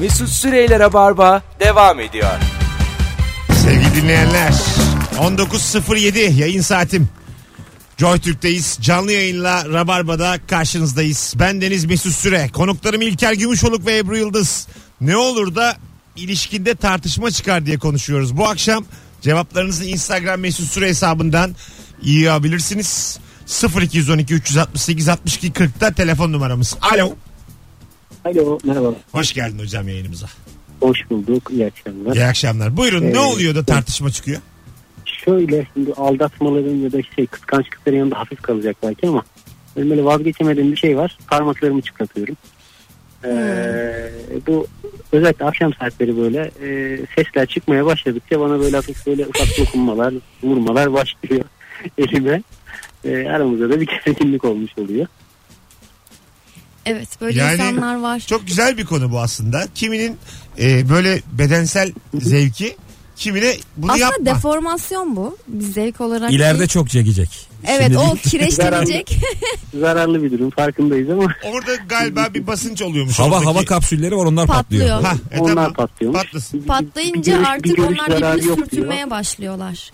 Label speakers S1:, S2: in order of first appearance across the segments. S1: Mesut Süreyler'e barba devam ediyor.
S2: Sevgili dinleyenler 19.07 yayın saatim. Joy Türk'teyiz. Canlı yayınla Rabarba'da karşınızdayız. Ben Deniz Mesut Süre. Konuklarım İlker Gümüşoluk ve Ebru Yıldız. Ne olur da ilişkinde tartışma çıkar diye konuşuyoruz. Bu akşam cevaplarınızı Instagram Mesut Süre hesabından yiyebilirsiniz. 0212 368 62 40'ta telefon numaramız. Alo.
S3: Alo merhaba.
S2: Hoş geldin hocam yayınımıza.
S3: Hoş bulduk. İyi akşamlar.
S2: İyi akşamlar. Buyurun
S3: Ee,
S2: ne oluyor da tartışma çıkıyor?
S3: Şöyle şimdi aldatmaların ya da şey kıskançlıkların yanında hafif kalacak belki ama benim böyle vazgeçemediğim bir şey var. Parmaklarımı çıtlatıyorum. Ee,
S2: Hmm.
S3: bu özellikle akşam saatleri böyle e, sesler çıkmaya başladıkça bana böyle hafif böyle ufak dokunmalar, vurmalar başlıyor elime. E, aramızda da bir kesinlik olmuş oluyor.
S4: Evet böyle
S2: Yani-
S4: insanlar var.
S2: Çok güzel bir konu bu aslında. Kiminin e, böyle bedensel zevki, kimine bunu
S4: Aslında
S2: yapma.
S4: deformasyon bu. Biz zevk olarak.
S5: İleride
S4: değil.
S5: çok çekecek.
S4: Evet
S5: Şimdi
S4: o
S5: değil.
S4: kireçlenecek.
S3: Zararlı bir durum farkındayız ama
S2: Orada galiba bir basınç oluyormuş.
S5: hava
S2: oradaki.
S5: hava kapsülleri var onlar patlıyor.
S4: Patlıyor.
S2: Ha, e,
S3: onlar
S2: tamam.
S3: patlıyormuş.
S2: Patlasın.
S3: Bir- bir- bir
S4: Patlayınca
S3: görüş-
S4: artık
S3: görüş
S4: onlar
S3: zararı
S4: birbirini
S3: yok diyor.
S4: sürtünmeye başlıyorlar.
S3: bir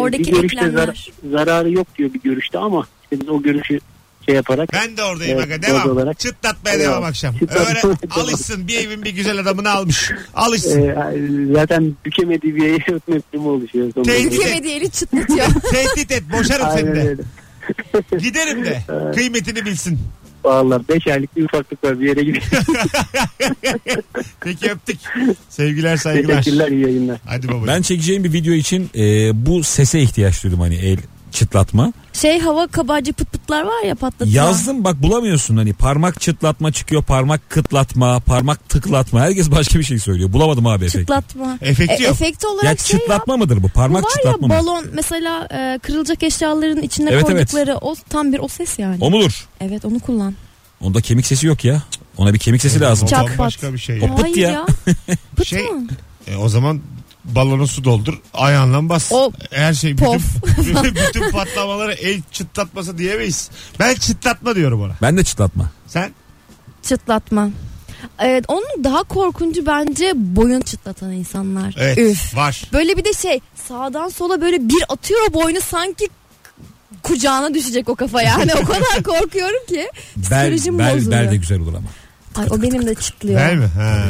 S4: Oradaki
S3: görüşte
S4: eklemler.
S3: zar- zararı yok diyor bir görüşte ama işte biz o görüşü şey yaparak
S2: Ben de oradayım
S3: Evet,
S2: aga.
S3: doğru
S2: Devam.
S3: olarak.
S2: Çıtlatmaya
S3: Devam.
S2: devam akşam.
S3: Çıtlatmaya
S2: Öyle
S3: devam.
S2: alışsın. Bir evin bir güzel adamını almış. Alışsın.
S3: e, zaten bükemediği bir yere ötme durumu oluşuyor. sonunda.
S2: Teyze-
S4: Ülkemediği eli çıtlatıyor.
S2: Tehdit et. Boşarım
S3: Aynen
S2: seni de.
S3: öyle.
S2: Giderim de. Kıymetini bilsin.
S3: Vallahi 5 aylık bir ufaklık var bir yere gidiyor.
S2: Peki öptük. Sevgiler saygılar.
S3: Teşekkürler iyi yayınlar.
S2: Hadi babacığım.
S5: Ben çekeceğim bir video için e, bu sese ihtiyaç duydum hani el çıtlatma.
S4: Şey hava kabarcı pıt pıtlar var ya patlatılan.
S5: Yazdım bak bulamıyorsun hani parmak çıtlatma çıkıyor, parmak kıtlatma, parmak tıklatma. Herkes başka bir şey söylüyor. Bulamadım abi efekti.
S4: Çıtlatma.
S2: Efekti
S4: E,
S2: yok.
S4: efekt olarak
S5: ya
S4: şey ya.
S5: çıtlatma mıdır bu? Parmak
S4: var ya
S5: çıtlatma mı?
S4: balon mesela e, kırılacak eşyaların içine
S5: Evet, evet.
S4: koydukları o tam bir o ses yani.
S5: O mudur?
S4: Evet onu kullan.
S5: Onda kemik sesi yok ya. Ona bir kemik sesi lazım.
S2: O
S4: Çak
S2: zaman
S4: pat.
S2: başka bir şey. ya.
S5: pıt
S4: Hayır
S5: ya.
S4: ya. pıt
S2: Şey-
S4: mı?
S2: E, o zaman balona su doldur. Ayağınla bas.
S4: O-
S2: Her şey bütün,
S4: Pof.
S2: bütün patlamaları el çıtlatması diyemeyiz. Ben çıtlatma diyorum ona.
S5: Ben de çıtlatma.
S2: Sen
S4: Çıtlatma. Evet, onun daha korkuncu bence boyun çıtlatan insanlar.
S2: evet
S4: Üf.
S2: var.
S4: Böyle bir de şey sağdan sola böyle bir atıyor o boynu sanki kucağına düşecek o kafa yani o kadar korkuyorum ki
S5: Bel,
S4: psikolojim
S5: bel,
S4: bozuluyor.
S5: bel de güzel olur ama.
S4: Ay, o benim de çıtlıyor.
S2: Değil mi? Ha.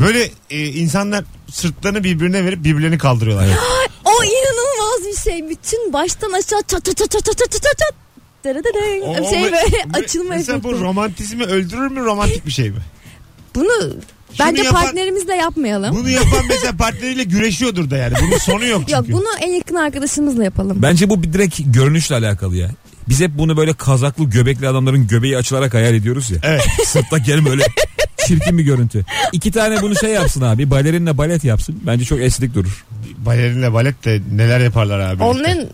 S2: Böyle e, insanlar sırtlarını birbirine verip birbirlerini kaldırıyorlar.
S4: O inanılmaz bir şey. Bütün baştan aşağı çat çat çat çat çat çat çat çat. Dırıdırı.
S2: O- o
S4: şey
S2: me-
S4: böyle
S2: me-
S4: açılma
S2: Mesela
S4: efekti.
S2: bu romantizmi öldürür mü romantik bir şey mi?
S4: Bunu bence
S2: yapan-
S4: partnerimizle yapmayalım.
S2: Bunu yapan mesela partneriyle güreşiyordur da yani. Bunun sonu yok çünkü.
S4: Yok bunu en yakın arkadaşımızla yapalım.
S5: Bence bu bir direkt görünüşle alakalı ya. Biz hep bunu böyle kazaklı göbekli adamların göbeği açılarak hayal ediyoruz ya.
S2: Evet.
S5: Sırtta gelin böyle çirkin bir görüntü. İki tane bunu şey yapsın abi. Balerinle balet yapsın. Bence çok estetik durur.
S2: Balerinle balet de neler yaparlar abi.
S4: Onların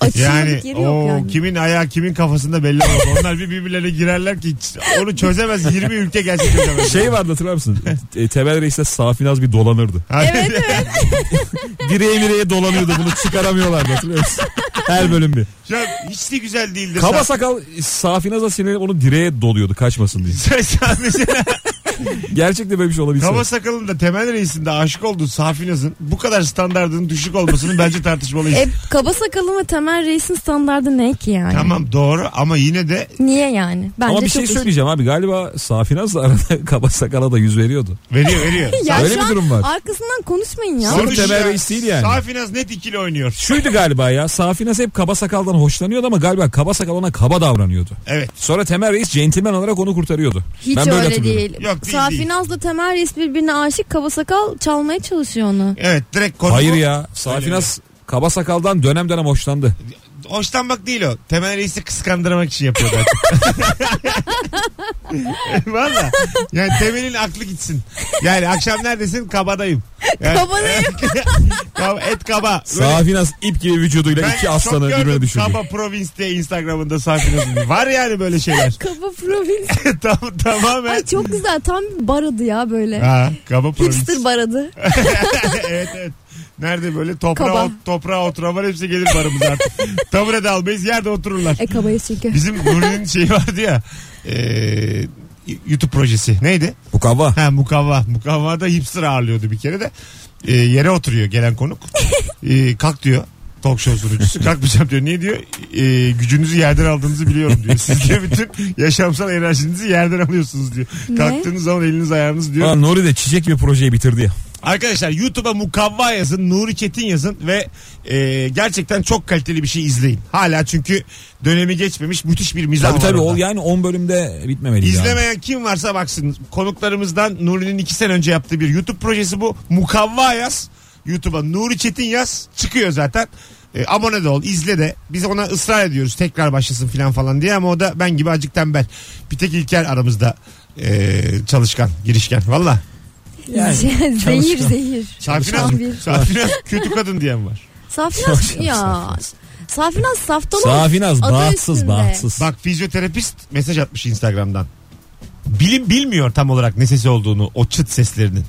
S4: açılmadık
S2: Yani
S4: yeri
S2: o
S4: yok Şey yani.
S2: kimin ayağı kimin kafasında belli olmaz. Onlar bir birbirlerine girerler ki hiç- onu çözemez. 20 ülke gelse çözemez.
S5: Şey vardı hatırlar mısın? E, Temel Reis'le Safinaz bir dolanırdı.
S4: Evet evet.
S5: Direğe mireğe dolanıyordu bunu çıkaramıyorlardı hatırlıyor musun? Her bölüm bir.
S2: Ya hiç de güzel değildir.
S5: Kaba
S2: Sa-
S5: sakal Safinaz'a sinirlenip onu direğe doluyordu kaçmasın diye.
S2: Sen sadece
S5: Gerçekten böyle bir şey olabilse.
S2: kaba sakalın da temel reisinde aşık olduğu Safinaz'ın bu kadar standartının düşük olmasını bence tartışmalıyız.
S4: e, kaba sakalın ve temel reisin standardı ne ki yani?
S2: Tamam doğru ama yine de
S4: Niye yani? Bence
S5: Ama bir
S4: çok iyi.
S5: şey söyleyeceğim abi galiba Safinaz da arada kaba sakala da yüz veriyordu.
S2: veriyor veriyor.
S4: Ya
S5: Öyle
S4: şu
S5: bir
S4: an
S5: durum var.
S4: Arkasından konuşmayın ya.
S5: Sırf
S2: Konuş
S5: temel
S2: ya.
S5: reis değil yani.
S2: Safinaz net ikili oynuyor.
S5: Şuydu galiba ya Safinaz hep kaba sakaldan hoşlanıyordu ama galiba kaba sakal ona kaba davranıyordu.
S2: Evet.
S5: Sonra Temel Reis centilmen olarak onu kurtarıyordu.
S4: Hiç
S5: ben böyle
S4: öyle
S5: hatırlıyorum.
S4: değil.
S2: Yok, değil, değil.
S4: Safinaz'la Temel Reis birbirine aşık kaba sakal çalmaya çalışıyor onu.
S2: Evet direkt konu
S5: Hayır
S2: bu.
S5: ya Safinaz kaba sakaldan dönem dönem hoşlandı.
S2: Hoşlanmak değil o. Temel reisi kıskandırmak için yapıyor zaten. Valla. Yani Temel'in aklı gitsin. Yani akşam neredesin? Kabadayım. Yani,
S4: Kabanayım.
S2: kab- et kaba. Böyle-
S5: Safinaz ip gibi vücuduyla iki aslanı
S2: çok
S5: birbirine
S2: gördüm
S5: düşürdü.
S2: Kaba Province diye Instagram'ında safinazın. Var yani böyle şeyler.
S4: Kaba provins.
S2: Tam, tamamen.
S4: Ay çok güzel. Tam bir baradı ya böyle.
S2: Ha, kaba Province.
S4: Hipster baradı.
S2: evet evet. Nerede böyle toprağa,
S4: Kaba.
S2: ot- toprağa oturan var hepsi gelir barımıza artık. Tabure de almayız yerde otururlar.
S4: E kabayız çünkü.
S2: Bizim Nuri'nin şeyi vardı ya. E, YouTube projesi. Neydi?
S5: Bu kava.
S2: Ha mukavva. Mukavva da hipster ağırlıyordu bir kere de. Ee, yere oturuyor gelen konuk. Ee, kalk diyor. Talk show sunucusu. Kalkmayacağım diyor. Niye diyor? Ee, gücünüzü yerden aldığınızı biliyorum diyor. Siz diyor bütün yaşamsal enerjinizi yerden alıyorsunuz diyor.
S4: Ne?
S2: Kalktığınız zaman eliniz ayağınız diyor.
S5: Aa, Nuri de çiçek bir projeyi bitirdi ya.
S2: Arkadaşlar YouTube'a mukavva yazın. Nuri Çetin yazın ve e, gerçekten çok kaliteli bir şey izleyin. Hala çünkü dönemi geçmemiş müthiş bir mizah
S5: Tabii
S2: var
S5: tabii
S2: orada.
S5: o yani 10 bölümde bitmemeliydi. abi.
S2: İzlemeyen kim varsa baksın. Konuklarımızdan Nuri'nin iki sene önce yaptığı bir YouTube projesi bu. Mukavva yaz. YouTube'a Nuri Çetin yaz. Çıkıyor zaten. E, abone de ol izle de biz ona ısrar ediyoruz tekrar başlasın filan falan diye ama o da ben gibi acık tembel bir tek İlker aramızda e, çalışkan girişken valla
S5: Yani
S4: zehir
S5: çalışkan.
S4: zehir.
S2: Safinaz,
S4: Tam bir-
S2: Safinaz kötü kadın diyen var
S4: Safinaz ya. Safinaz saftalı.
S5: Safinaz
S4: Adı
S5: bağıtsız
S4: üstünde.
S5: bağıtsız.
S2: Bak fizyoterapist mesaj atmış Instagram'dan. Bilim bilmiyor tam olarak ne sesi olduğunu o çıt seslerinin.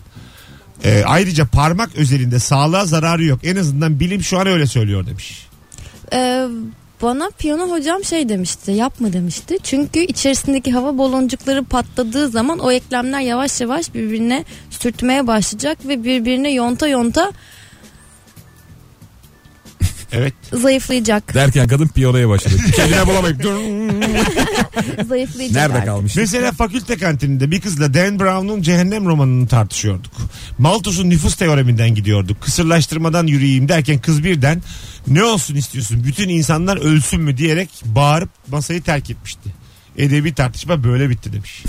S2: Ee, ayrıca parmak özelinde sağlığa zararı yok. En azından bilim şu an öyle söylüyor demiş.
S4: Ee, bana piyano hocam şey demişti yapma demişti. Çünkü içerisindeki hava baloncukları patladığı zaman o eklemler yavaş yavaş birbirine sürtmeye başlayacak ve birbirine yonta yonta
S2: Evet.
S4: zayıflayacak.
S5: Derken kadın piyolaya başladı. Kendine bulamayıp dur.
S4: zayıflayacak.
S5: Nerede
S4: artık.
S5: kalmış?
S2: Mesela fakülte kantininde bir kızla Dan Brown'un Cehennem romanını tartışıyorduk. Malthus'un nüfus teoreminden gidiyorduk. Kısırlaştırmadan yürüyeyim derken kız birden ne olsun istiyorsun bütün insanlar ölsün mü diyerek bağırıp masayı terk etmişti. Edebi tartışma böyle bitti demiş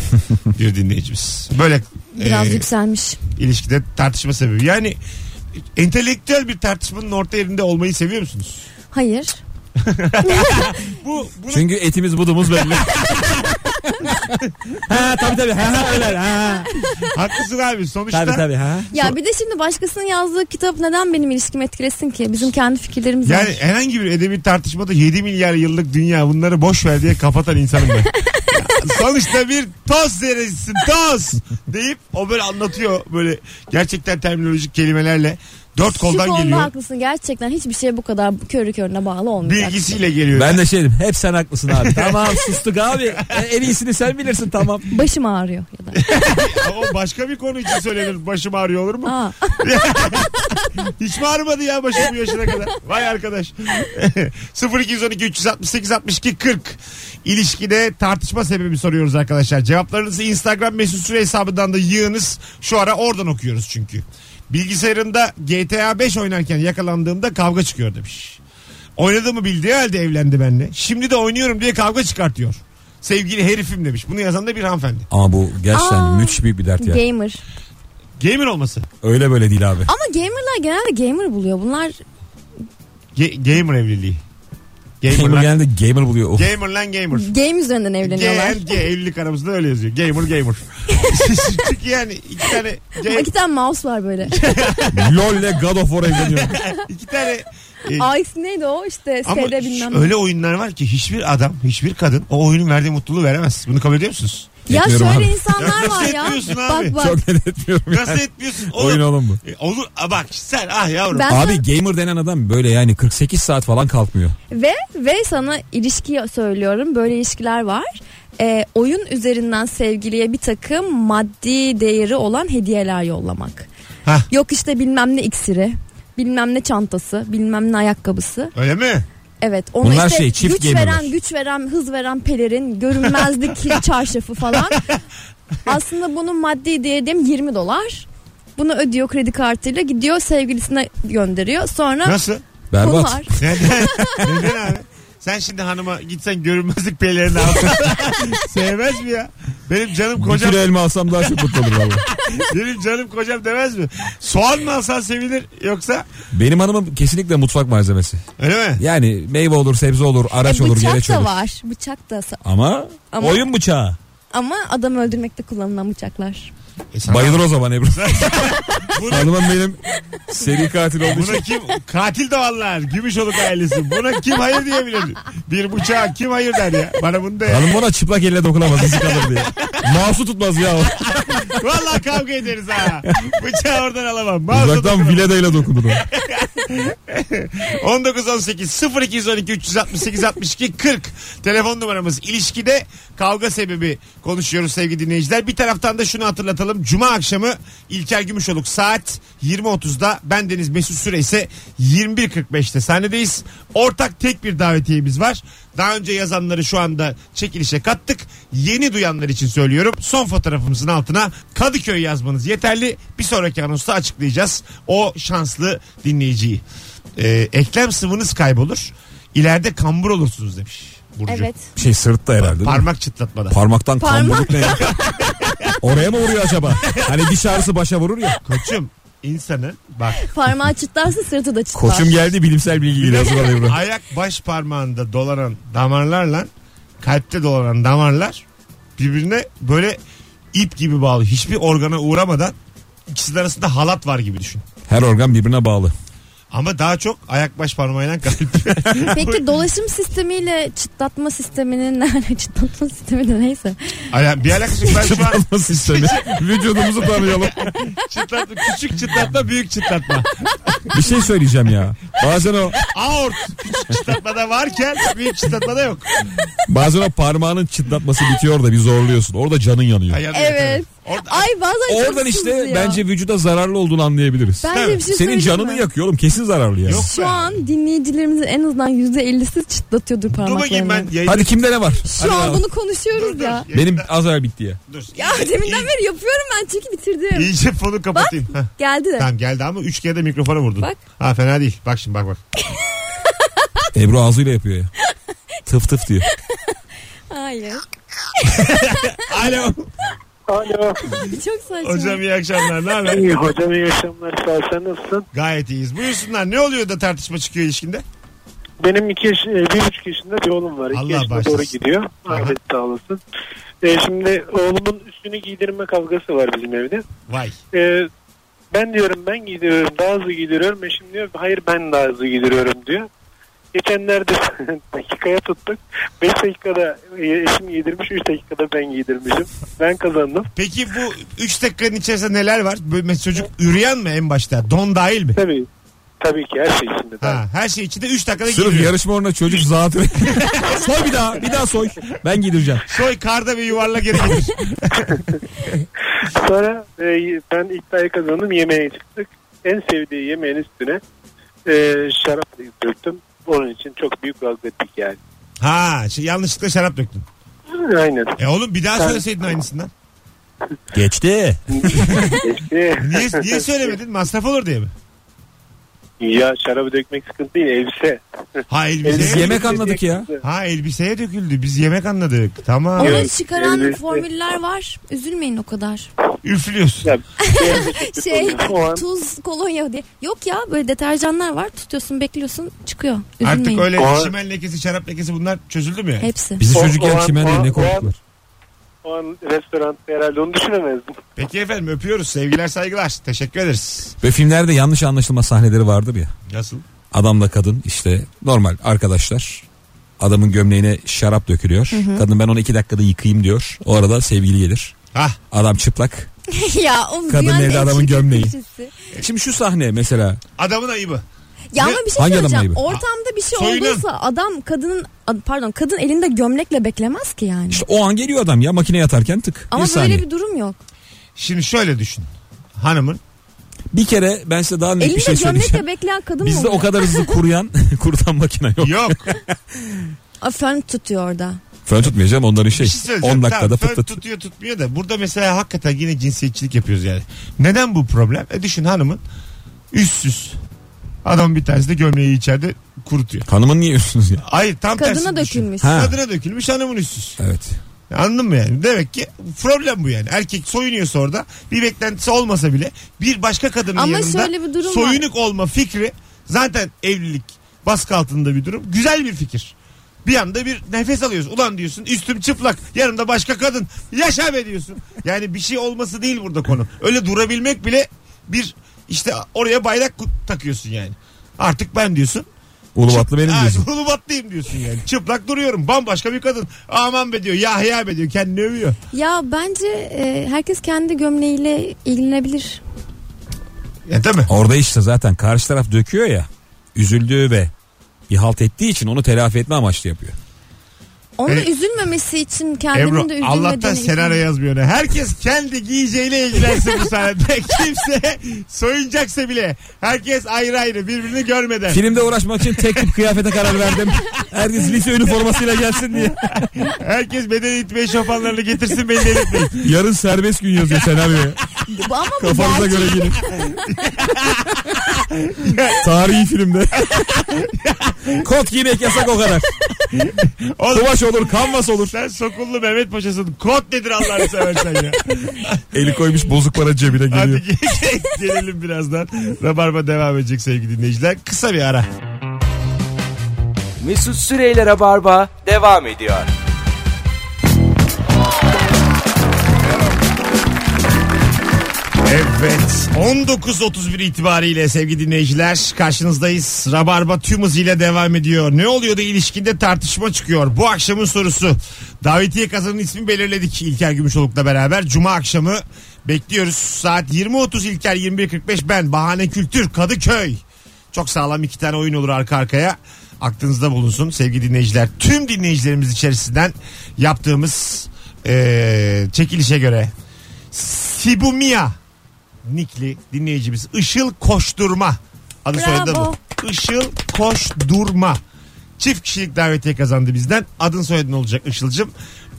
S2: bir dinleyicimiz. Böyle
S4: Biraz
S2: e,
S4: yükselmiş.
S2: ilişkide tartışma sebebi. Yani entelektüel bir tartışmanın orta yerinde olmayı seviyor musunuz?
S4: Hayır.
S2: Bu bunu
S5: Çünkü etimiz budumuz belli. ha tabii tabii. Ha öyle. Ha.
S2: haklısın abi. Sonuçta
S5: Tabii tabii ha.
S4: Ya bir de şimdi başkasının yazdığı kitap neden benim ilişkimi etkilesin ki? Bizim kendi fikirlerimiz var.
S2: Yani herhangi bir edebi tartışmada 7 milyar yıllık dünya bunları boş ver diye kapatan insanım ben. Sonuçta bir toz zerresisin toz deyip o böyle anlatıyor böyle gerçekten terminolojik kelimelerle dört
S4: Şu
S2: koldan
S4: konuda
S2: geliyor.
S4: haklısın. Gerçekten hiçbir şeye bu kadar körü körüne bağlı olmayacak.
S2: Bilgisiyle geliyor.
S5: Ben de şey dedim. Hep sen haklısın abi. tamam sustuk abi. E, En iyisini sen bilirsin tamam.
S4: Başım ağrıyor ya da.
S2: O başka bir konu için söylenir. Başım ağrıyor olur mu?
S4: Aa,
S2: Hiç mi ağrımadı ya başım bu yaşına kadar? Vay arkadaş. 0212 368 62 40 İlişkide tartışma sebebi soruyoruz arkadaşlar. Cevaplarınızı Instagram mesut süre hesabından da yığınız. Şu ara oradan okuyoruz çünkü. Bilgisayarında GTA 5 oynarken yakalandığımda kavga çıkıyor demiş. Oynadığımı bildiği halde evlendi benimle. Şimdi de oynuyorum diye kavga çıkartıyor. Sevgili herifim demiş. Bunu yazan da bir hanımefendi.
S5: Ama bu gerçekten
S4: Aa,
S5: müthiş bir, bir dert ya.
S4: gamer.
S2: Gamer olması.
S5: Öyle böyle değil abi.
S4: Ama gamerlar genelde gamer buluyor. Bunlar
S2: Ge- gamer evliliği. Gamer
S5: Gamer
S2: lan,
S5: genelde gamer buluyor. Oh, Of.
S2: gamer lan gamer.
S4: game üzerinden evleniyorlar.
S2: G, G evlilik aramızda öyle yazıyor. Gamer gamer. Çünkü yani iki tane G,
S4: Bak iki tane mouse var böyle.
S5: LOL ile God of War evleniyor.
S2: iki tane e,
S4: Ice neydi o işte
S2: ama
S4: şeyde
S2: hiç-
S4: bilmem.
S2: öyle oyunlar var ki hiçbir adam, hiçbir kadın o oyunun verdiği mutluluğu veremez. Bunu kabul ediyor musunuz?
S4: ya
S5: Etmiyorum
S4: şöyle
S5: abi.
S4: insanlar
S2: Nasıl
S4: var ya.
S2: etmiyorsun abi?
S4: Bak bak.
S5: Çok net etmiyorum.
S2: Nasıl etmiyorsun? Oğlum,
S5: Oyun oğlum bu.
S2: E, olur. A, bak sen ah yavrum.
S4: Ben-
S5: Abi gamer denen adam böyle yani 48 saat falan kalkmıyor.
S4: Ve ve sana ilişki söylüyorum. Böyle ilişkiler var. Ee, oyun üzerinden sevgiliye bir takım maddi değeri olan hediyeler yollamak.
S2: Hah.
S4: Yok işte bilmem ne iksiri, bilmem ne çantası, bilmem ne ayakkabısı.
S2: Öyle mi?
S4: Evet, onu
S5: Bunlar
S4: işte
S5: şey, çift
S4: güç
S5: gemiler.
S4: veren, güç veren, hız veren pelerin, görünmezlik kil çarşafı falan. Aslında bunun maddi değeri diyelim 20 dolar. Bunu ödüyor kredi kartıyla gidiyor sevgilisine gönderiyor. Sonra
S2: Nasıl?
S5: Berbat.
S4: Dolar.
S2: Neden? Neden abi? Sen şimdi hanıma gitsen görünmezlik pelerini alsın. Sevmez mi ya? Benim canım
S5: Bir
S2: kocam
S5: kilo elma alsam daha çok mutlu olur valla.
S2: benim canım kocam demez mi? Soğan mı alsan sevinir yoksa
S5: Benim hanımım kesinlikle mutfak malzemesi.
S2: öyle mi?
S5: Yani meyve olur, sebze olur,
S4: E,
S5: araç olur,
S4: bıçak
S5: gereç
S4: da
S5: olur.
S4: var. Bıçak da sa-
S5: Ama,
S4: Ama-
S5: oyun bıçağı.
S4: ama adam öldürmekte kullanılan bıçaklar.
S2: E, sana-
S5: Bayılır o zaman Ebru.
S2: Bunu-
S5: Hanımım benim seri katil olduğu için.
S2: Buna kim katil doğanlar Gümüşoluk ailesi buna kim hayır diyebilir bir bıçağa kim hayır der ya bana bunu de
S5: Hanım ona çıplak elle dokunamaz izi kalır diye. Mouse'u tutmaz ya. o.
S2: Vallahi kavga ederiz ha bıçağı oradan alamam Mouse'a
S5: Uzaktan
S2: dokunamam.
S5: viledayla dokunur. o.
S2: 1918 0212 368 62 40 telefon numaramız ilişkide kavga sebebi konuşuyoruz sevgili dinleyiciler. Bir taraftan da şunu hatırlatalım. Cuma akşamı İlker Gümüşoluk saat 20.30'da ben Deniz Mesut Süre ise 21.45'te sahnedeyiz. Ortak tek bir davetiyemiz var. Daha önce yazanları şu anda çekilişe kattık. Yeni duyanlar için söylüyorum. Son fotoğrafımızın altına Kadıköy yazmanız yeterli. Bir sonraki anonsta açıklayacağız o şanslı dinleyiciyi. Ee, eklem sıvınız kaybolur. İleride kambur olursunuz demiş Burcu.
S4: Evet.
S5: Bir şey sırtta herhalde. değil mi?
S2: Parmak çıtlatmada.
S5: Parmaktan
S4: Parmak.
S5: kamburluk ne ya? Oraya mı vuruyor acaba? Hani diş ağrısı başa vurur ya.
S2: Koçum insanın bak
S4: Parmağı çıtlarsa sırtı da çıtlar.
S5: Koçum geldi bilimsel bilgiyle hazırladı Ebru.
S2: ayak baş parmağında dolanan damarlarla kalpte dolanan damarlar birbirine böyle ip gibi bağlı. Hiçbir organa uğramadan ikisinin arasında halat var gibi düşün.
S5: Her organ birbirine bağlı.
S2: Ama daha çok ayak baş parmağıyla kalp.
S4: Peki dolaşım sistemiyle çıtlatma sisteminin nerede çıtlatma sistemi de neyse.
S2: Ala- bir alakası yok. Ben şu an Şey-
S5: Çıtlatma sistemi. Vücudumuzu tanıyalım.
S2: çıtlatma, küçük çıtlatma, büyük çıtlatma.
S5: Bir şey söyleyeceğim ya. Bazen o
S2: Aort küçük çıtlatmada varken büyük çıtlatmada yok.
S5: bazen o parmağının çıtlatması bitiyor da bir zorluyorsun. Orada canın yanıyor.
S2: Ay, yandı,
S4: Evet.
S2: Orada,
S4: Ay bazen çok
S5: Oradan işte
S4: sızlıyor.
S5: bence vücuda zararlı olduğunu anlayabiliriz.
S4: Bence
S2: Evet.
S4: bir şey
S5: Senin
S4: söyleyeyim
S5: canını
S4: mi?
S5: yakıyor oğlum kesin zararlı yani.
S2: Yok.
S4: Şu an dinleyicilerimizin en azından yüzde ellisi çıtlatıyordur
S2: dur bakayım
S4: parmaklarını.
S2: ben yayını...
S5: Hadi kimde ne var?
S4: Şu
S5: Hadi
S4: an
S5: al.
S4: bunu
S2: Dur,
S4: konuşuyoruz
S2: dur.
S4: ya.
S5: Benim az evvel bitti ya.
S2: Dur.
S4: Ya deminden beri yapıyorum ben çünkü bitirdim.
S2: İyice fonu kapatayım. Heh.
S4: Geldi de.
S2: Tamam geldi ama 3 kere de mikrofona vurdun.
S4: Bak.
S2: Ha fena değil. Bak şimdi bak bak.
S5: Ebru ağzıyla yapıyor ya. tıf tıf diyor.
S4: Hayır.
S2: Alo.
S3: Alo.
S4: Çok saçma.
S2: Hocam iyi akşamlar. Ne haber?
S3: İyi hocam iyi akşamlar. Sağ ol, sen nasılsın?
S2: Gayet iyiyiz. Buyursunlar. Ne oluyor da tartışma çıkıyor ilişkinde?
S3: Benim iki yaş, e, bir buçuk yaşında bir oğlum var. İki
S2: Allah
S3: yaşına
S2: bağışlasın.
S3: doğru gidiyor.
S2: Aha.
S3: Ahmet sağ olasın. E, şimdi oğlumun üstünü giydirme kavgası var bizim evde.
S2: Vay.
S3: E, ben diyorum ben giydiriyorum daha hızlı giydiriyorum. Eşim diyor hayır ben daha hızlı giydiriyorum diyor. Geçenlerde dakikaya tuttuk. 5 dakikada e, eşim giydirmiş 3 dakikada ben giydirmişim. Ben kazandım.
S2: Peki bu 3 dakikanın içerisinde neler var? Böyle mesela çocuk üreyen mi en başta? Don dahil mi?
S3: Tabii. Tabii ki her şey içinde.
S2: Ha, her şey içinde 3 dakikada
S5: Sırf
S2: gidiyor.
S5: yarışma uğruna çocuk zatürre. soy bir daha bir daha soy. Ben giydireceğim.
S2: Soy karda ve yuvarla geri gelir.
S3: Sonra e, ben iddiayı kazandım yemeğe çıktık. En sevdiği yemeğin üstüne e, şarap döktüm. Onun için çok büyük kavga ettik yani.
S2: ha şey, yanlışlıkla şarap döktün.
S3: Aynen.
S2: E oğlum bir daha
S3: Ben-
S2: söyleseydin aynısından.
S5: Geçti.
S3: Geçti.
S2: Niye, niye söylemedin? Masraf olur diye mi?
S3: ya şarabı dökmek sıkıntı değil elbise.
S2: Ha
S5: Biz
S2: elbiseye,
S5: yemek anladık ya.
S2: ha, elbiseye döküldü. Biz yemek anladık. Tamam.
S4: Onu
S3: Evet,
S4: çıkaran
S3: evet.
S4: formüller var. Üzülmeyin o kadar.
S2: Üflüyorsun.
S3: Ya,
S4: Şey
S3: O an-
S4: tuz kolonya diye. Yok ya böyle deterjanlar var. Tutuyorsun bekliyorsun çıkıyor. Üzülmeyin.
S2: Artık öyle
S3: O-
S2: çimen lekesi, şarap lekesi bunlar çözüldü mü? yani?
S4: Hepsi.
S5: Bizi
S3: O- o
S5: çocukken
S3: an-
S5: çimen
S3: o
S5: değil
S3: an-
S5: ne
S3: o an-
S5: korktular.
S3: o an restoranda herhalde onu düşünemezdim.
S2: Peki efendim öpüyoruz. Sevgiler saygılar. Teşekkür ederiz.
S5: Ve filmlerde yanlış anlaşılma sahneleri vardır ya.
S2: Nasıl?
S5: Adamla kadın işte normal arkadaşlar. Adamın gömleğine şarap dökülüyor. Kadın ben onu iki dakikada yıkayayım diyor. O arada sevgili gelir.
S2: Hah
S5: Adam çıplak.
S4: ya o
S5: Kadın
S4: dünyanın
S5: evde
S4: en
S5: adamın
S4: çirkin
S5: gömleği.
S4: köşesi.
S5: Şimdi şu sahne mesela.
S2: adamın ayıbı.
S4: Ya ama
S2: Ne-
S4: bir şey
S5: Hangi adamın
S4: söyleyeceğim.
S5: ayıbı?
S4: Ortamda bir şey
S2: Soyunan.
S4: olduysa adam kadının ad- pardon kadın elinde gömlekle beklemez ki yani.
S5: İşte o an geliyor adam ya makine yatarken tık.
S4: ama
S5: bir
S4: böyle
S5: saniye. Bir...
S4: bir durum yok.
S2: Şimdi şöyle düşün. Hanımın
S5: kere ben size daha net
S4: Elinde
S5: bir şey söyleyeceğim.
S4: gömlekle bekleyen kadın mı
S5: Bizde o
S4: olur?
S5: kadar hızlı kuruyan kurutan makine yok.
S2: yok.
S4: Aa, Fön tutuyor orada.
S5: Fön tutmayacağım onların şey.
S2: Bir şey söyleyeceğim.
S5: 10 dakikada
S2: Tamam,
S5: fıt
S2: fön
S5: fıt.
S2: tutuyor tutmuyor da burada mesela hakikaten yine cinsiyetçilik yapıyoruz yani. Neden bu problem? E düşün hanımın üstsüz. Adam bir tanesi de gömleği içeride kurutuyor.
S5: Hanımın niye yiyorsunuz ya?
S2: Hayır tam tersi.
S4: Kadına
S2: düşün.
S4: dökülmüş.
S5: Ha.
S2: Kadına dökülmüş hanımın üstsüz.
S5: Evet.
S2: Anladın mı yani? Demek ki problem bu yani. Erkek soyunuyorsa orada bir beklentisi olmasa bile bir başka kadının
S4: Ama
S2: yanında
S4: şöyle bir durum var.
S2: soyunuk olma fikri zaten evlilik baskı altında bir durum. Güzel bir fikir. Bir anda bir nefes alıyorsun. Ulan diyorsun üstüm çıplak yanımda başka kadın yaşa be diyorsun. Yani bir şey olması değil burada konu. Öyle durabilmek bile bir işte oraya bayrak kut- takıyorsun yani. Artık ben diyorsun.
S5: Ulubatlı benim
S2: Ha,
S5: diyorsun.
S2: Ulubatlıyım diyorsun yani. Çıplak duruyorum. Bambaşka bir kadın. Aman be diyor. Yahya be diyor. Kendini övüyor.
S4: Ya bence e, herkes kendi gömleğiyle ilgilenebilir.
S2: Ya E, değil mi?
S5: Orada işte zaten karşı taraf döküyor ya. üzüldüğü ve bir halt ettiği için onu telafi etme amaçlı yapıyor.
S4: Onun
S2: E,
S4: üzülmemesi için
S2: Ebru
S4: kendimin de üzülmediğini
S2: Allah'tan senaryo yazmıyor. ne. Herkes kendi giyeceğiyle ilgilensin bu sahnede. Kimse soyunacaksa bile. Herkes ayrı ayrı birbirini görmeden.
S5: Filmde uğraşmak için tek tip kıyafete karar verdim. Herkes lise üniformasıyla gelsin diye.
S2: Herkes beden eğitme şopanlarını getirsin beni delirtmeyin.
S5: Yarın serbest gün yazıyor senaryoya.
S4: Bu Ama bu
S5: Kafanıza
S4: gerçek.
S5: göre gelin. Tarihi filmde. Kot giymek yasak o kadar.
S2: Oğlum
S5: Kumaş olur, kanvas olur.
S2: sen sokullu Mehmet Paşa'sın. Kod nedir Allah'ını seversen ya.
S5: Eli koymuş bozuk para cebine
S2: Hadi
S5: geliyor.
S2: ge- gelelim birazdan. Rabarba devam edecek sevgili dinleyiciler. Kısa bir ara.
S1: Mesut Süreyler'e barba devam ediyor.
S2: Evet 19.31 itibariyle sevgili dinleyiciler karşınızdayız. Rabarba tüm hızıyla devam ediyor. Ne oluyor da ilişkinde tartışma çıkıyor? Bu akşamın sorusu. Davetiye kazanın ismi belirledik İlker Gümüşoluk'la beraber. Cuma akşamı bekliyoruz. Saat 20.30 İlker 21.45 ben Bahane Kültür Kadıköy. Çok sağlam iki tane oyun olur arka arkaya. Aklınızda bulunsun sevgili dinleyiciler. Tüm dinleyicilerimiz içerisinden yaptığımız eee, çekilişe göre Sibumia nikli dinleyicimiz Işıl Koşturma adı
S4: Bravo.
S2: soyadı bu. Işıl Koşturma. Çift kişilik davetiye kazandı bizden. Adın soyadın olacak Işıl'cım.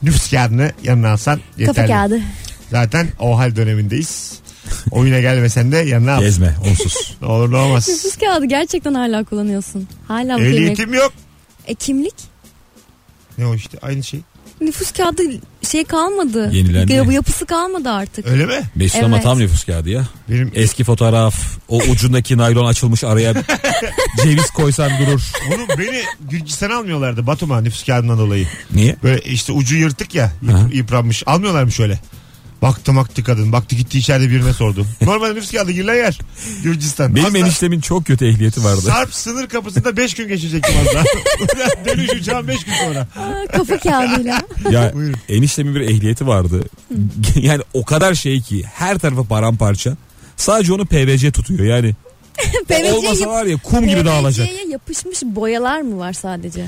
S2: Nüfus kağıdını yanına alsan yeterli.
S4: Kapı kağıdı.
S2: Zaten o hal dönemindeyiz. Oyuna gelmesen de yanına al.
S5: Gezme, onsuz.
S2: Ne olur ne olmaz.
S4: Nüfus kağıdı gerçekten hala kullanıyorsun. Hala bu kelimeyi-
S2: Ehliyetim yok.
S4: E kimlik?
S2: Ne o işte aynı şey.
S4: Nüfus kağıdı şey kalmadı.
S5: Yenilendi.
S4: Ya bu yapısı kalmadı artık.
S2: Öyle mi?
S5: Mesut ama
S4: Evet.
S5: tam nüfus kağıdı ya.
S2: Benim
S5: Eski fotoğraf, o ucundaki naylon açılmış araya ceviz koysan durur.
S2: bunu beni Gürcistan almıyorlardı Batum'a nüfus kağıdından dolayı.
S5: Niye?
S2: Böyle işte ucu yırtık ya yıp-
S5: Aha.
S2: yıpranmış. Almıyorlar mı şöyle? Baktı baktı kadın. Baktı gitti içeride birine sordu. Normalde nüfus kağıdı girilen yer. Gürcistan.
S5: Benim
S2: Az daha-
S5: eniştemin çok kötü ehliyeti vardı.
S2: Sarp sınır kapısında 5 gün geçirecektim az daha. Ulan Dönüş uçağım 5 gün sonra.
S4: Aa, kafa kağıdıyla.
S5: ya
S2: Buyurun.
S5: eniştemin bir ehliyeti vardı. yani o kadar şey ki her tarafı paramparça. Sadece onu PVC tutuyor yani.
S4: PVC'ye
S5: Olmasa
S4: yap-
S5: var ya kum gibi dağılacak.
S4: PVC'ye yapışmış boyalar mı var sadece?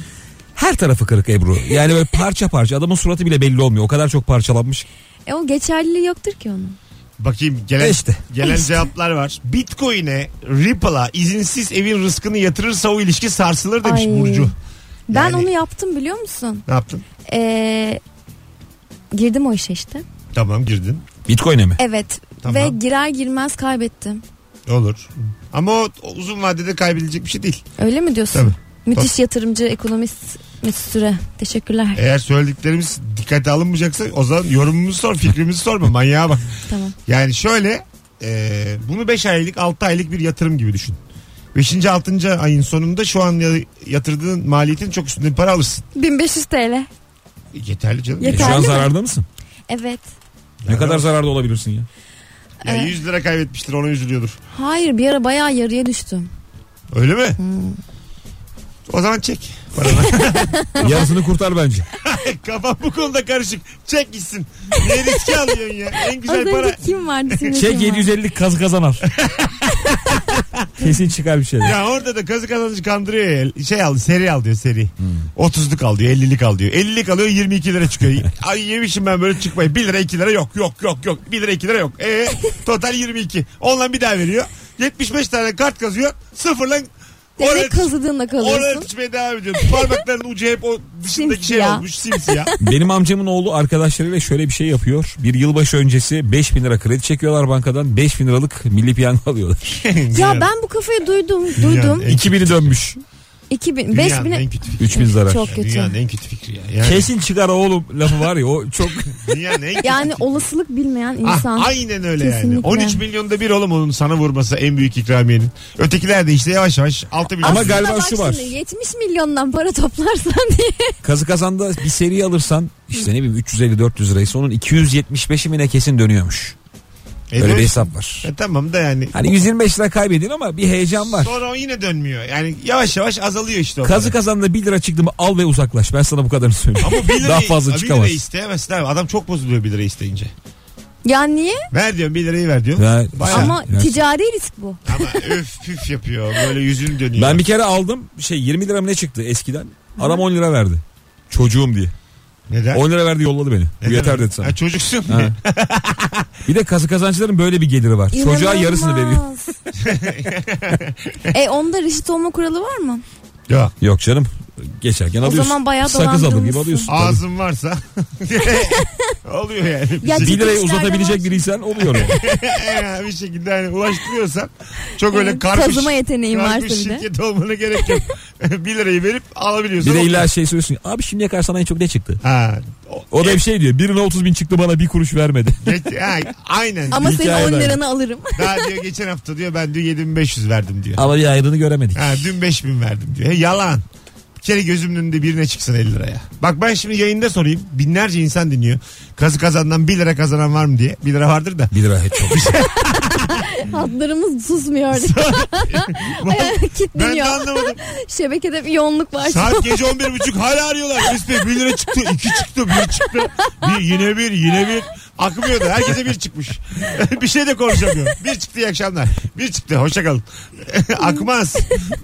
S5: Her tarafı kırık Ebru. Yani böyle parça parça adamın suratı bile belli olmuyor. O kadar çok parçalanmış. ki.
S4: E o geçerliliği yoktur ki onun.
S2: Bakayım gelen,
S5: İşte.
S2: gelen cevaplar var. Bitcoin'e, Ripple'a izinsiz evin rızkını yatırırsa o ilişki sarsılır demiş
S4: Ay.
S2: Burcu.
S4: Ben
S2: Yani-
S4: onu yaptım biliyor musun?
S2: Ne yaptın?
S4: Ee, girdim o işe işte.
S2: Tamam girdin.
S5: Bitcoin'e mi?
S4: Evet
S2: Tamam.
S4: ve girer girmez kaybettim.
S2: Olur. Ama o o uzun vadede kaybedilecek bir şey değil.
S4: Öyle mi diyorsun?
S2: Tabii.
S4: Müthiş yatırımcı ekonomist Mesut Süre. Teşekkürler.
S2: Eğer söylediklerimiz dikkate alınmayacaksa o zaman yorumumuzu sor, fikrimizi sorma. Manyağa bak.
S4: Tamam.
S2: Yani şöyle e, bunu 5 aylık 6 aylık bir yatırım gibi düşün. 5. 6. ayın sonunda şu an ya- yatırdığın maliyetin çok üstünde bir para alırsın.
S4: 1500 TL.
S2: E, Yeterli canım.
S5: E,
S4: Yeterli
S5: şu an
S4: mi?
S5: zararda mısın?
S4: Evet.
S5: Ne kadar zararda olabilirsin ya?
S2: Ya
S4: Evet.
S2: 100 lira kaybetmiştir ona üzülüyordur.
S4: Hayır bir ara bayağı yarıya düştüm.
S2: Öyle mi?
S4: Hmm.
S2: O zaman çek. paranı.
S5: Yarısını kurtar bence.
S2: Kafam bu konuda karışık. Çek gitsin. Ne riske alıyorsun ya? En
S4: Az
S2: güzel
S4: önce
S2: para. Şey,
S4: kim vardı? Sizin kim
S5: Çek
S4: vardı?
S5: 750 kazı kazanar. Kesin çıkar bir şey. şeyler.
S2: Ya orada da kazı kazancı kandırıyor ya. Şey al, seri al diyor seri. 30'luk al diyor, 50'lik al diyor. 50'lik alıyor 22 lira çıkıyor. Ay yemişim ben böyle çıkmayı. 1 lira 2 lira yok yok yok yok. 1 lira 2 lira yok. E total 22. Ondan bir daha veriyor. 75 tane kart kazıyor. Sıfırla oraya,
S4: Demek kazıdığında
S2: oraya
S4: kalıyorsun.
S2: tutuşmaya devam ediyor. Parmaklarının ucu hep o dışındaki şey
S4: Simsiyah.
S2: olmuş simsiyah.
S5: Benim amcamın oğlu arkadaşlarıyla şöyle bir şey yapıyor. Bir yılbaşı öncesi 5000 lira kredi çekiyorlar bankadan. 5000 liralık milli piyango alıyorlar.
S4: Ya ben bu kafayı duydum.
S2: Dünyanın
S4: Duydum.
S2: en-
S5: 2000'i dönmüş.
S4: 2000,
S2: Dünyanın
S4: 5000'e
S2: en kötü fikri.
S5: 3000 zarar.
S4: çok kötü.
S2: Dünyanın en kötü fikri ya. Yani,
S5: Kesin çıkar oğlum lafı var ya o çok
S2: dünyanın en kötü
S4: Yani
S2: fikri.
S4: olasılık bilmeyen
S2: Ah,
S4: insan.
S2: aynen öyle yani.
S4: Kesinlikle.
S2: 13 milyonda bir oğlum onun sana vurması en büyük ikramiyenin. Ötekiler de işte yavaş yavaş 6 milyon.
S5: Ama
S4: Aslında
S5: galiba
S4: bak
S5: şu var.
S4: şimdi, 70 milyondan para toplarsan diye.
S5: kazı kazanda bir seri alırsan işte ne bileyim 350-400 liraysa onun 275'i mi ne kesin dönüyormuş.
S2: E,
S5: Öyle bir
S2: dön-
S5: hesap var.
S2: E, tamam da yani.
S5: Hani 125 lira kaybedin ama bir heyecan var.
S2: Sonra o yine dönmüyor. Yani yavaş yavaş azalıyor işte o.
S5: Kazı
S2: para.
S5: kazanda 1 lira çıktı mı al ve uzaklaş. Ben sana bu kadarını söyleyeyim.
S2: Ama 1 lira,
S5: Daha fazla
S2: Bir
S5: çıkamaz.
S2: lira isteyemezsin abi. Adam çok bozuluyor 1 lira isteyince.
S4: Ya niye?
S2: Ver diyorum 1 lirayı ver diyorum.
S5: Ver.
S2: Bayağı.
S5: Sen-
S2: Ama...
S4: Ama
S5: biraz-
S4: ticari risk bu.
S2: öf püf yapıyor. Böyle yüzün dönüyor.
S5: Ben bir kere aldım şey 20 lira mı ne çıktı eskiden. Adam 10 lira verdi. Çocuğum diye.
S2: Neden?
S5: 10 lira verdi yolladı beni. Bu
S2: Neden?
S5: yeter dedi sana.
S2: Ha, çocuksun.
S5: Ha. Bir de kazı kazancıların böyle bir geliri var. Çocuğa yarısını veriyor.
S4: İnanılmaz. e onda reşit olma kuralı var mı?
S2: Yok.
S5: Yok canım. Geçerken
S4: O
S5: alıyorsun.
S4: zaman bayağı
S5: Sakız alır gibi
S4: dolandırılmışsın.
S5: alıyorsun. tabii.
S2: Ağzın varsa oluyor yani.
S4: Ya
S5: Bir lirayı
S4: Çıkışlarda
S5: uzatabilecek
S4: var.
S5: biriysen oluyor. yani.
S2: bir şekilde hani ulaştırıyorsan çok öyle
S4: Evet,
S2: karmış,
S4: kazıma yeteneğin Ee, varsa
S2: karmış
S4: bir de.
S2: şirket olmana gerek yok. 1 lirayı verip alabiliyorsan.
S5: bir de
S2: o-
S5: illa şey söylüyorsun. Abi şimdiye kadar sana en çok ne çıktı?
S2: Ha, o-
S5: O da hep şey diyor. Birine 30 bin çıktı bana bir kuruş vermedi.
S2: Geç- ha, aynen.
S4: Ama
S5: Hikaye
S4: senin 10
S5: var.
S4: liranı alırım.
S2: Daha diyor geçen hafta diyor ben diyor 7500 verdim diyor.
S5: Ama bir ayrını göremedik.
S2: Ha, dün 5000 verdim diyor. He, Yalan. Bir kere gözümün önünde birine çıksın 50 liraya. Bak ben şimdi yayında sorayım. Binlerce insan dinliyor. Kazı kazandan 1 lira kazanan var mı diye. 1 lira vardır da.
S5: 1 lira hiç çok.
S4: Hatlarımız susmuyor.
S2: ben de
S4: Kitleniyor.
S2: anlamadım.
S4: Şebekede bir yoğunluk var.
S2: Saat gece 11.30 hala arıyorlar. Mesut Bey 1 lira çıktı, 2 çıktı, 1 çıktı. Bir, yine bir, yine bir. Akmıyor da herkese bir çıkmış. bir şey de konuşamıyorum. Bir çıktı iyi akşamlar. Bir çıktı hoşçakalın. Akmaz.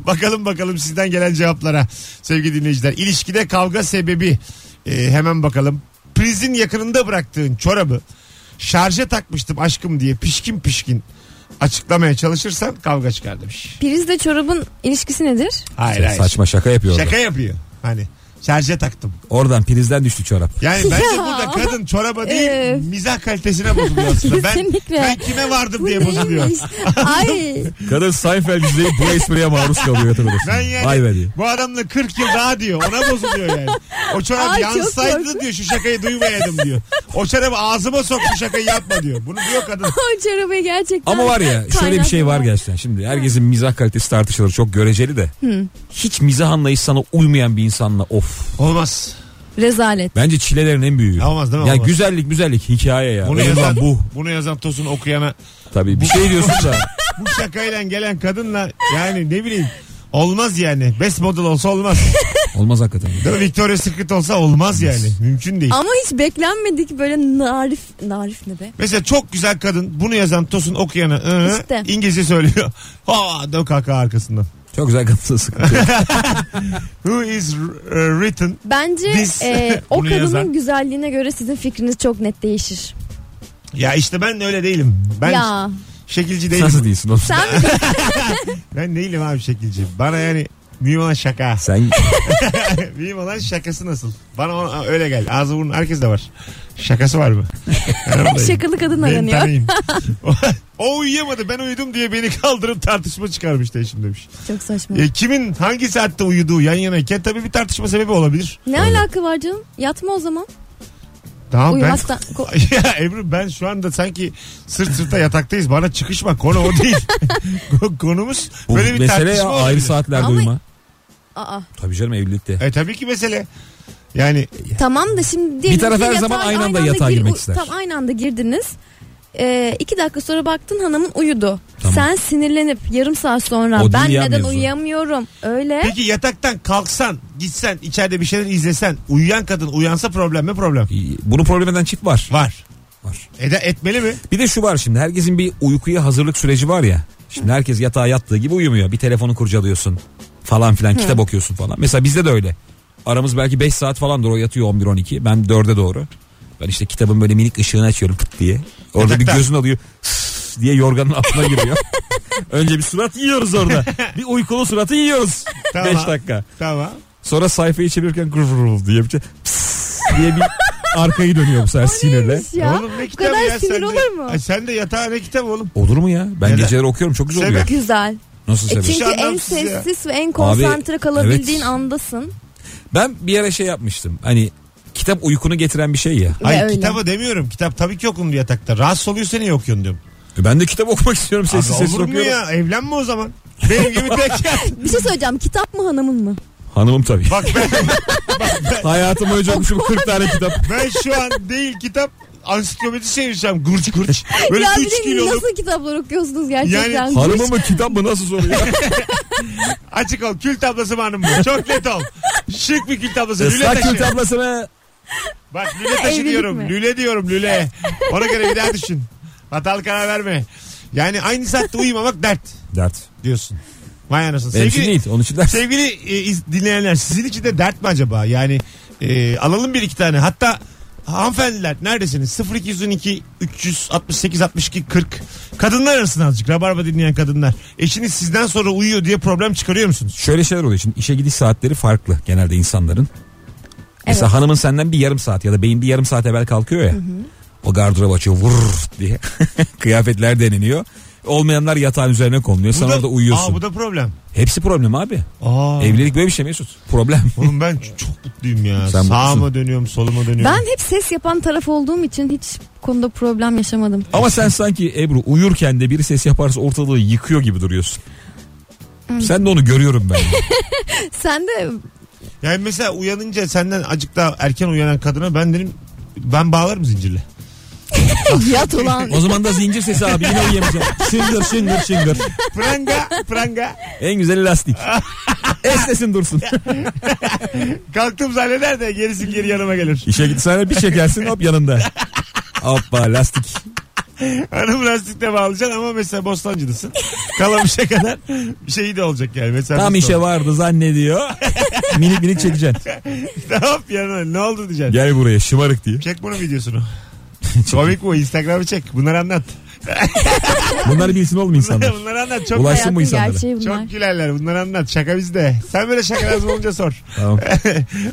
S2: bakalım bakalım sizden gelen cevaplara sevgili dinleyiciler. İlişkide kavga sebebi Ee, hemen bakalım. Prizin yakınında bıraktığın çorabı şarja takmıştım aşkım diye pişkin pişkin açıklamaya çalışırsan kavga çıkar demiş.
S4: Prizle çorabın ilişkisi nedir?
S2: Hayır hayır.
S5: Saçma şaka yapıyor orada.
S2: Şaka yapıyor. Hani şarja taktım.
S5: Oradan prizden düştü çorap.
S2: Yani
S4: Ya.
S2: bence burada kadın çoraba değil
S4: Evet.
S2: mizah kalitesine bozuluyor aslında. Ben,
S4: Kesinlikle.
S2: ben kime vardım
S4: Bu
S2: diye bozuluyor.
S4: neymiş? Ay
S5: Kadın Seinfeld izleyip bu espriye maruz kalıyor. hatırlıyorsun.
S2: Ben yani
S5: Vay be diyor.
S2: bu adamla 40 yıl daha diyor. Ona bozuluyor yani. O çorap
S4: Ay, çok
S2: yansaydı
S4: korkunç.
S2: diyor şu şakayı duymayaydım diyor. O çorabı ağzıma sok şu şakayı yapma diyor. Bunu diyor kadın.
S4: o çorabı gerçekten.
S5: Ama var ya şöyle bir şey var
S4: kaynaklı.
S5: gerçekten. Şimdi herkesin mizah kalitesi tartışılır. Çok göreceli de. Hiç mizah anlayışı sana uymayan bir insanla of.
S2: Olmaz.
S4: Rezalet.
S5: Bence çilelerin en büyüğü.
S2: Olmaz değil mi?
S5: Ya
S2: Olmaz.
S5: güzellik güzellik hikaye ya.
S2: Bunu
S5: Benim
S2: yazan,
S5: lan bu.
S2: bunu yazan Tosun okuyana
S5: Tabii bir şey diyorsun da.
S2: bu şakayla gelen kadınla yani ne bileyim olmaz yani. Best model olsa olmaz.
S5: Olmaz hakikaten.
S2: Değil mi? Victoria's Secret olsa olmaz yani. Mümkün değil.
S4: Ama hiç beklenmedik böyle narif narif ne be?
S2: Mesela çok güzel kadın bunu yazan Tosun okuyanı ı,
S4: İşte.
S2: İngilizce söylüyor. Ha dök haka arkasından.
S5: Çok güzel kadınsın sıkıntı. yok.
S2: Who is r- e, written?
S4: Bence
S2: Biz-
S4: e, o
S2: Bunu
S4: kadının
S2: yazan-
S4: güzelliğine göre sizin fikriniz çok net değişir.
S2: Ya işte ben de öyle değilim. Ben
S4: Ya
S2: şekilci değilim.
S5: Nasıl değilsin oğlum?
S4: sen mi?
S2: Ben değilim abi şekilci. Bana yani mühim olan şaka.
S5: Sen
S2: mühim olan şakası nasıl? Bana ona- öyle gel. Ağzı burnu herkes de var. Şakası var mı? Ben oradayım.
S4: şakalı kadın
S2: Beni
S4: aranıyor.
S2: tanıyın. o uyuyamadı ben uyudum diye beni kaldırıp tartışma çıkarmış eşim demiş.
S4: Çok saçma.
S2: E, kimin hangi saatte uyuduğu yan yanayken tabii bir tartışma sebebi olabilir.
S4: Ne alaka var canım? Yatma o zaman.
S2: Tamam
S4: Uyumazsan.
S2: ben...
S4: ko-
S2: ya Ebru ben şu anda sanki sırt sırta yataktayız. Bana çıkışma konu o değil. Ko- Konumuz
S5: bu
S2: böyle bir
S5: mesele ya
S2: tartışma
S5: ayrı
S2: olabilir.
S5: saatlerde
S4: Ama-
S5: uyuma.
S4: Aa,
S5: Tabii canım evlilikte.
S2: E tabii ki mesele. Yani
S4: tamam da şimdi
S5: Bir taraf
S4: ki
S5: her
S4: yatağa-
S5: zaman aynı anda yatağa girmek
S4: u-
S5: ister.
S4: Tam aynı anda girdiniz. E, iki dakika sonra baktın hanımın uyudu.
S5: Tamam.
S4: Sen sinirlenip yarım saat sonra
S5: O değil
S4: ben
S5: ya
S4: neden
S5: mevzu."
S4: uyuyamıyorum öyle.
S2: peki yataktan kalksan, gitsen, içeride bir şeyler izlesen, uyuyan kadın uyansa problem mi problem?
S5: Bunu problem eden çift var.
S2: Var.
S5: Var.
S2: Ede etmeli mi?
S5: Bir de şu var şimdi herkesin bir uykuya hazırlık süreci var ya. Şimdi herkes yatağa yattığı gibi uyumuyor. Bir telefonu kurcalıyorsun falan filan kitap okuyorsun falan. Mesela bizde de öyle. Aramız belki 5 saat falandır o yatıyor 11-12 ben 4'e doğru. Ben işte kitabın böyle minik ışığını açıyorum pıt diye. Orada bir
S2: Yatakta.
S5: gözün alıyor "Sss" diye yorganın altına giriyor. Önce bir surat yiyoruz orada. Bir uykulu suratı yiyoruz. 5
S2: Tamam.
S5: dakika.
S2: Tamam.
S5: Sonra sayfayı çevirirken gurur gurur diye bir şey- "Pss" diye bir arkayı dönüyor bu sefer sinirle.
S4: Neymiş ya?
S2: Oğlum ne
S4: Bu
S2: kitabı
S4: kadar
S2: ya?
S4: sinir
S2: Sen de-
S4: olur mu?
S2: Ay, sen de yatağa ne kitap oğlum?
S5: Olur mu ya? Ben
S2: Neden?
S5: geceleri okuyorum çok güzel oluyor.
S4: Güzel.
S5: Nasıl
S4: E
S5: sebebi?
S4: çünkü en
S2: anlamsız ya.
S4: sessiz ve en konsantre
S5: Abi,
S4: kalabildiğin
S5: evet.
S4: andasın.
S5: Ben bir ara şey yapmıştım. Hani kitap uykunu getiren bir şey ya.
S4: Ve
S2: Hayır
S4: öyle.
S2: kitabı demiyorum. Kitap tabii ki okunur yatakta. Rahatsız oluyorsa niye okuyorsun diyorum.
S5: E Ben de kitap okumak istiyorum
S2: Abi,
S5: sessiz sessiz
S2: olur mu
S5: okuyorum.
S2: ya? Evlenme o zaman. Benim gibi tek yat.
S4: Bir şey söyleyeceğim. Kitap mı hanımın mı?
S5: Hanımım tabii.
S2: Bak ben,
S5: Hayatım boyunca okumuşum 40 tane kitap.
S2: ben şu an değil kitap ansiklopedi çevireceğim gurç gurç. Böyle
S4: ya
S2: 3
S4: bir de
S2: kiloluk
S4: nasıl kitaplar okuyorsunuz gerçekten?
S2: Yani-
S5: Hanımı mı kitap mı nasıl soruyor?
S2: açık ol. Kül tablası mı hanım bu? Çok net ol. Şık bir kül tablası. Rüle
S5: Islak
S2: taşı.
S5: kitaplasına
S2: Bak lüle taşı
S4: Evlilik
S2: diyorum.
S4: mi?
S2: Lüle diyorum lüle. Ona göre bir daha düşün. Hatalı karar verme. Yani aynı saatte uyumamak dert
S5: Dert.
S2: diyorsun. Vay anasını.
S5: Benim için
S2: Sevgili-
S5: değil. Onun için dert.
S2: Sevgili e, iz- dinleyenler sizin için de dert mi acaba? Yani e, alalım bir iki tane. Hatta hanımefendiler neredesiniz? 0212 368 62 40. Kadınlar arasında azıcık. Rabarba dinleyen kadınlar. Eşiniz sizden sonra uyuyor diye problem çıkarıyor musunuz?
S5: Şöyle şeyler oluyor şimdi işe gidiş saatleri farklı genelde insanların. Mesela
S4: Evet.
S5: hanımın senden bir yarım saat ya da beyin bir yarım saat evvel kalkıyor ya. O gardıroba açıyor vur diye kıyafetler deneniyor. Olmayanlar yatağın üzerine konuluyor. Sen orada uyuyorsun.
S2: Aa, bu da problem.
S5: Hepsi problem abi.
S2: Aa.
S5: Evlilik böyle bir şey Mesut. Problem.
S2: Oğlum ben ç- çok mutluyum ya.
S5: Sen
S2: Sağıma
S5: mutlusun.
S2: dönüyorum, soluma dönüyorum.
S4: Ben hep ses yapan taraf olduğum için hiç bu konuda problem yaşamadım.
S5: Ama sen sanki Ebru uyurken de biri ses yaparsa ortalığı yıkıyor gibi duruyorsun. Sen de onu görüyorum ben.
S4: Sen de
S2: Yani mesela uyanınca senden acık daha erken uyanan kadına ben dedim ben bağlarım zincirle.
S4: yat ulan.
S5: o zaman da zincir sesi abi yine uyuyamayacağım. Şıngır şıngır şıngır.
S2: Pranga, pranga.
S5: En güzeli lastik. Esnesin dursun.
S2: Kalktım zanneder de gerisi geri yanıma gelir.
S5: İşe gitsene bir çekersin hop yanında. Hoppa lastik.
S2: Hanım lastikle bağlayacaksın ama mesela Bostancı'dasın. Kalamışa kadar bir şey de olacak yani. Mesela
S5: Tam işe
S2: var.
S5: vardı zannediyor. minik minik çekeceksin.
S2: Tamam yanına ne oldu diyeceksin.
S5: Gel buraya şımarık diye.
S2: Çek bunu videosunu. Komik bu Instagram'ı çek. Bunları anlat.
S5: Bunlar bilsin oğlum insanlar.
S2: bunları anlat. Çok
S5: Ulaşsın
S4: Hayatın
S5: bu insanlara.
S4: gerçeği bunlar.
S2: çok gülerler. Bunları anlat. Şaka bizde. Sen böyle şakalar olunca sor.
S5: Tamam.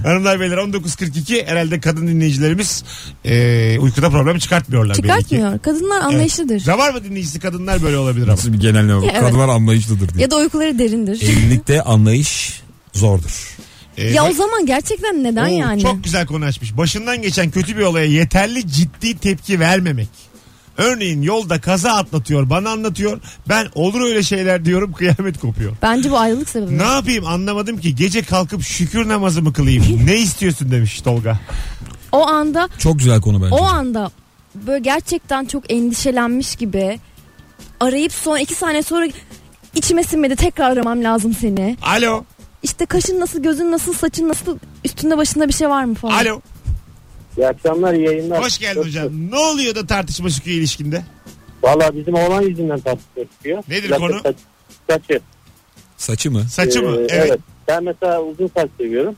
S2: Hanımlar beyler 19.42 herhalde kadın dinleyicilerimiz e, uykuda problem çıkartmıyorlar. belli ki.
S4: Çıkartmıyor. Kadınlar anlayışlıdır.
S2: Evet. Var mı dinleyicisi kadınlar böyle olabilir ama.
S5: Nasıl bir genelleme bu?
S4: Evet.
S5: Kadınlar anlayışlıdır diye.
S4: Ya da uykuları derindir.
S5: Evlilikte anlayış zordur.
S2: E,
S4: ya o zaman gerçekten neden
S2: Oo,
S4: yani?
S2: Çok güzel konu açmış. Başından geçen kötü bir olaya yeterli ciddi tepki vermemek. Örneğin yolda kaza atlatıyor bana anlatıyor. Ben olur öyle şeyler diyorum kıyamet kopuyor.
S4: Bence bu ayrılık sebebi.
S2: Ne yapayım anlamadım ki gece kalkıp şükür namazı mı kılayım? ne istiyorsun demiş Tolga.
S4: O anda
S5: Çok güzel konu bence.
S4: o anda böyle gerçekten çok endişelenmiş gibi arayıp son iki saniye sonra içime sinmedi tekrar aramam lazım seni.
S2: Alo
S4: İşte kaşın nasıl, gözün nasıl, saçın nasıl, üstünde başında bir şey var mı falan.
S2: alo
S3: İyi akşamlar iyi yayınlar.
S2: hoş geldin hocam. Ne oluyor da tartışma çıkıyor ilişkinde?
S3: Valla bizim oğlan yüzünden tartışma çıkıyor.
S2: Nedir
S3: Plaka
S2: konu?
S3: Saç, saçı.
S5: Saçı mı?
S2: Saçı mı?
S3: Ee,
S2: Evet.
S3: Ben mesela uzun saç seviyorum.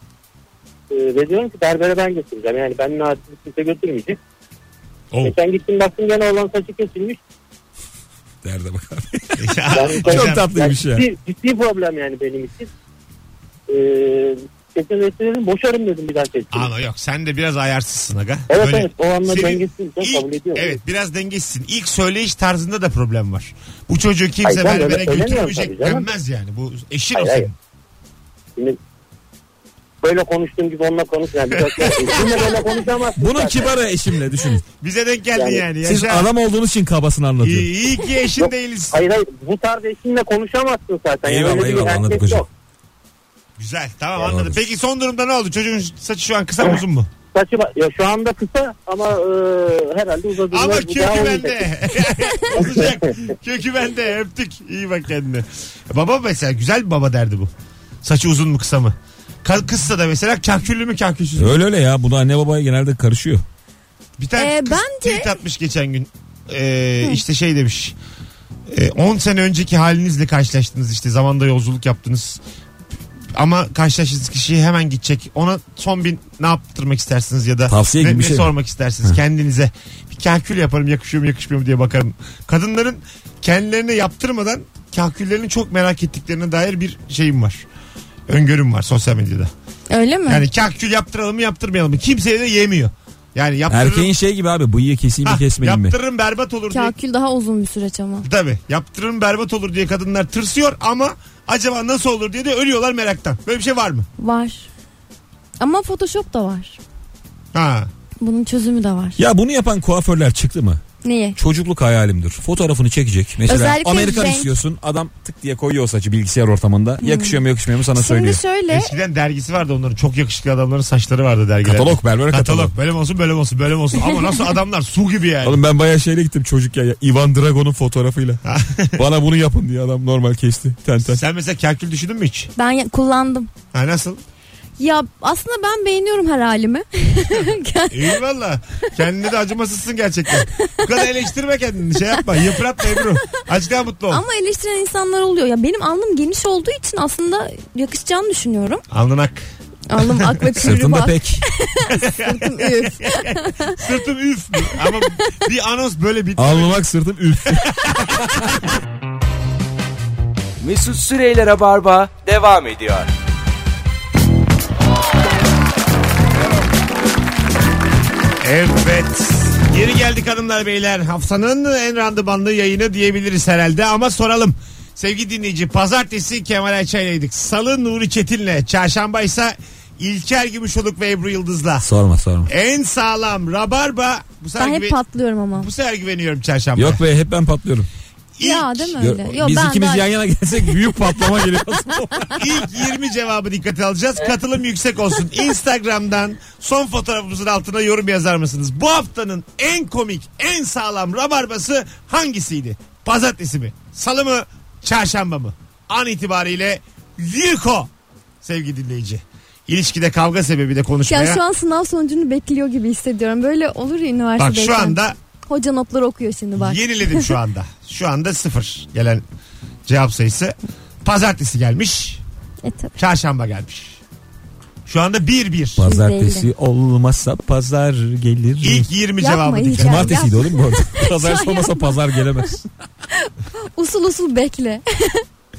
S3: Ee, ve diyorum ki berbere ben götüreceğim. Yani ben naçizim kimse götürmeyecek.
S2: Oo.
S3: Geçen gittim baktım gene oğlan saçı kesilmiş.
S5: Derde bak abi.
S2: Ya,
S3: Ben-
S5: Çok şey.
S2: hocam,
S3: Yani
S5: tatlıymış ya.
S3: ciddi, ciddi problem yani benim için. Ee, Kesin dedim boşarım dedim bir daha kesin.
S2: Ama yok sen de biraz ayarsızsın aga.
S3: Evet evet o anla
S2: senin
S3: dengesiz ben
S2: ilk-
S3: kabul ediyorum.
S2: Evet biraz dengesizsin. İlk söyleyiş tarzında da problem var. Bu çocuğu kimse
S3: Hayır, ben
S2: berbere
S3: öyle söylemiyorum
S2: götürmeyecek
S3: tabii canım.
S2: denmez yani. Bu eşin
S3: Hayır,
S2: o senin.
S3: hayır. Şimdi böyle konuştuğum gibi onunla konuş yani. Biraz daha- Eşinle böyle konuşamazsın.
S5: Bunu
S3: zaten.
S5: kibara eşimle düşünün.
S2: Bize denk geldin yani.
S3: Yani
S5: Siz
S2: Yaşa.
S5: adam olduğunuz için kabasını anlatıyor.
S2: İyi, iyi ki eşin
S3: Yok,
S2: değiliz.
S3: Hayır hayır bu tarz eşinle konuşamazsın zaten.
S5: Eyvallah,
S3: öyle bir
S5: eyvallah,
S3: erkek
S5: anladık hocam.
S3: yok.
S2: Güzel tamam
S5: Doğru.
S2: anladım. Peki son durumda ne oldu? Çocuğun saçı şu an kısa mı uzun mu?
S3: Saçı ba- ya şu anda kısa ama e, herhalde uzadı.
S2: Ama
S3: Uzadı-
S2: kökü
S3: daha olmayacak.
S2: bende. Olacak. kökü bende. Öptük. İyi bak kendine. Baba mesela güzel bir baba derdi bu. Saçı uzun mu kısa mı? Ka- Kızsa da mesela kahküllü mü kahkülsüz mü?
S5: Öyle öyle ya. Bu da anne babaya genelde karışıyor.
S2: Bir tane
S4: Ee,
S2: kız
S4: bence-
S2: tweet atmış geçen gün. Ee, işte şey demiş. Ee, 10 sene önceki halinizle karşılaştınız işte zamanda yolculuk yaptınız. Ama karşılaştığınız kişiye hemen gidecek. Ona son bir ne yaptırmak istersiniz ya da
S5: Tavsiye
S2: ne,
S5: gibi bir
S2: ne
S5: şey mi?
S2: sormak istersiniz kendinize. Bir kalkül yaparım yakışıyor mu yakışmıyor mu diye bakarım. Kadınların kendilerine yaptırmadan kalküllerini çok merak ettiklerine dair bir şeyim var. Öngörüm var sosyal medyada.
S4: Öyle mi?
S2: Yani kalkül yaptıralım mı yaptırmayalım mı? Kimseye de yemiyor. Yani yaptırırım
S5: Erkeğin şey gibi abi bıyığı keseyim mi
S4: Ah,
S2: Ha,
S5: kesmeyeyim mi?
S2: yaptırırım berbat olur diye.
S4: Kakül daha uzun bir süreç ama.
S2: Tabii yaptırırım berbat olur diye kadınlar tırsıyor ama acaba nasıl olur diye de ölüyorlar meraktan. Böyle bir şey var mı?
S4: Var. Ama Photoshop da var.
S2: Ha.
S4: Bunun çözümü de var.
S5: Ya bunu yapan kuaförler çıktı mı?
S4: Niye?
S5: Çocukluk hayalimdir. Fotoğrafını çekecek. Mesela
S4: Özellikle
S5: Amerikan
S4: renk- Hmm.
S5: istiyorsun. Adam tık diye koyuyor o saçı bilgisayar ortamında. Yakışıyor mu yakışmıyor mu sana
S4: Şimdi
S5: söylüyor.
S4: şöyle
S2: Eskiden dergisi vardı onların çok yakışıklı adamların saçları vardı dergilerde.
S5: Katalog berbere
S2: Katalog.
S5: katalog.
S2: Böyle mi olsun böyle mi olsun böyle mi olsun ama nasıl adamlar su gibi yani.
S5: Oğlum ben bayağı şeyle gittim çocuk ya. Ivan Drago'nun fotoğrafıyla. Bana bunu yapın diye adam normal kesti. Ten ten.
S2: Sen mesela kalkül düşündün mü hiç?
S4: ben ya- kullandım.
S2: Ha nasıl?
S4: Ya aslında ben beğeniyorum her halimi.
S2: İyi valla. Kendine de acımasızsın gerçekten. Bu kadar eleştirme kendini. Şey yapma. Yıpratma Ebru. Azıcık daha mutlu ol.
S4: Ama eleştiren insanlar oluyor. Ya benim alnım geniş olduğu için aslında yakışacağını düşünüyorum.
S2: Alnın ak.
S4: Alnım ak ve kuyruğum
S5: Sırtında
S4: ak.
S5: pek.
S4: Sırtım üf.
S2: Sırtım üf. mü? Ama bir anons böyle bir...
S5: Alnımak sırtım üf.
S1: Mesut Süreyler'e barba devam ediyor.
S2: Evet. Geri geldik hanımlar beyler. Haftanın en randımanlı yayını diyebiliriz herhalde ama soralım. Sevgili dinleyici pazartesi Kemal Ayça'yleydik. Salı Nuri Çetin'le. Çarşamba ise İlker Gümüşoluk ve Ebru Yıldız'la.
S5: sorma sorma.
S2: En sağlam rabarba. Bu sefer,
S4: Ben hep
S2: güven-
S4: patlıyorum ama.
S2: bu sefer güveniyorum çarşamba.
S5: Yok be hep ben patlıyorum.
S2: İlk-
S4: Ya değil mi öyle? Yo,
S5: Biz
S4: ben
S5: ikimiz
S4: daha-
S5: yan yana gelsek büyük patlama geliyor.
S2: İlk 20 cevabı dikkate alacağız. Katılım yüksek olsun. Instagram'dan son fotoğrafımızın altına yorum yazar mısınız? Bu haftanın en komik, en sağlam rabarbası hangisiydi? Pazartesi mi? Salı mı? Çarşamba mı? An itibariyle Liko sevgili dinleyici. İlişkide kavga sebebi de konuşmaya.
S4: Yani şu an sınav sonucunu bekliyor gibi hissediyorum. Böyle olur ya
S2: Bak
S4: üniversitedeyken.
S2: şu anda
S4: Hoca notları okuyor şimdi bak.
S2: Yeniledim şu anda. Şu anda sıfır gelen cevap sayısı. Pazartesi gelmiş.
S4: E tabii.
S2: Çarşamba gelmiş. Şu anda 1-1.
S5: Pazartesi olmasa pazar gelir.
S2: İlk 20
S4: Yapma
S2: cevabı
S4: iyice.
S2: dikkat.
S5: Cumartesiydi oğlum bu arada. Pazar
S4: Yapma.
S5: olmasa pazar gelemez.
S4: Usul usul bekle.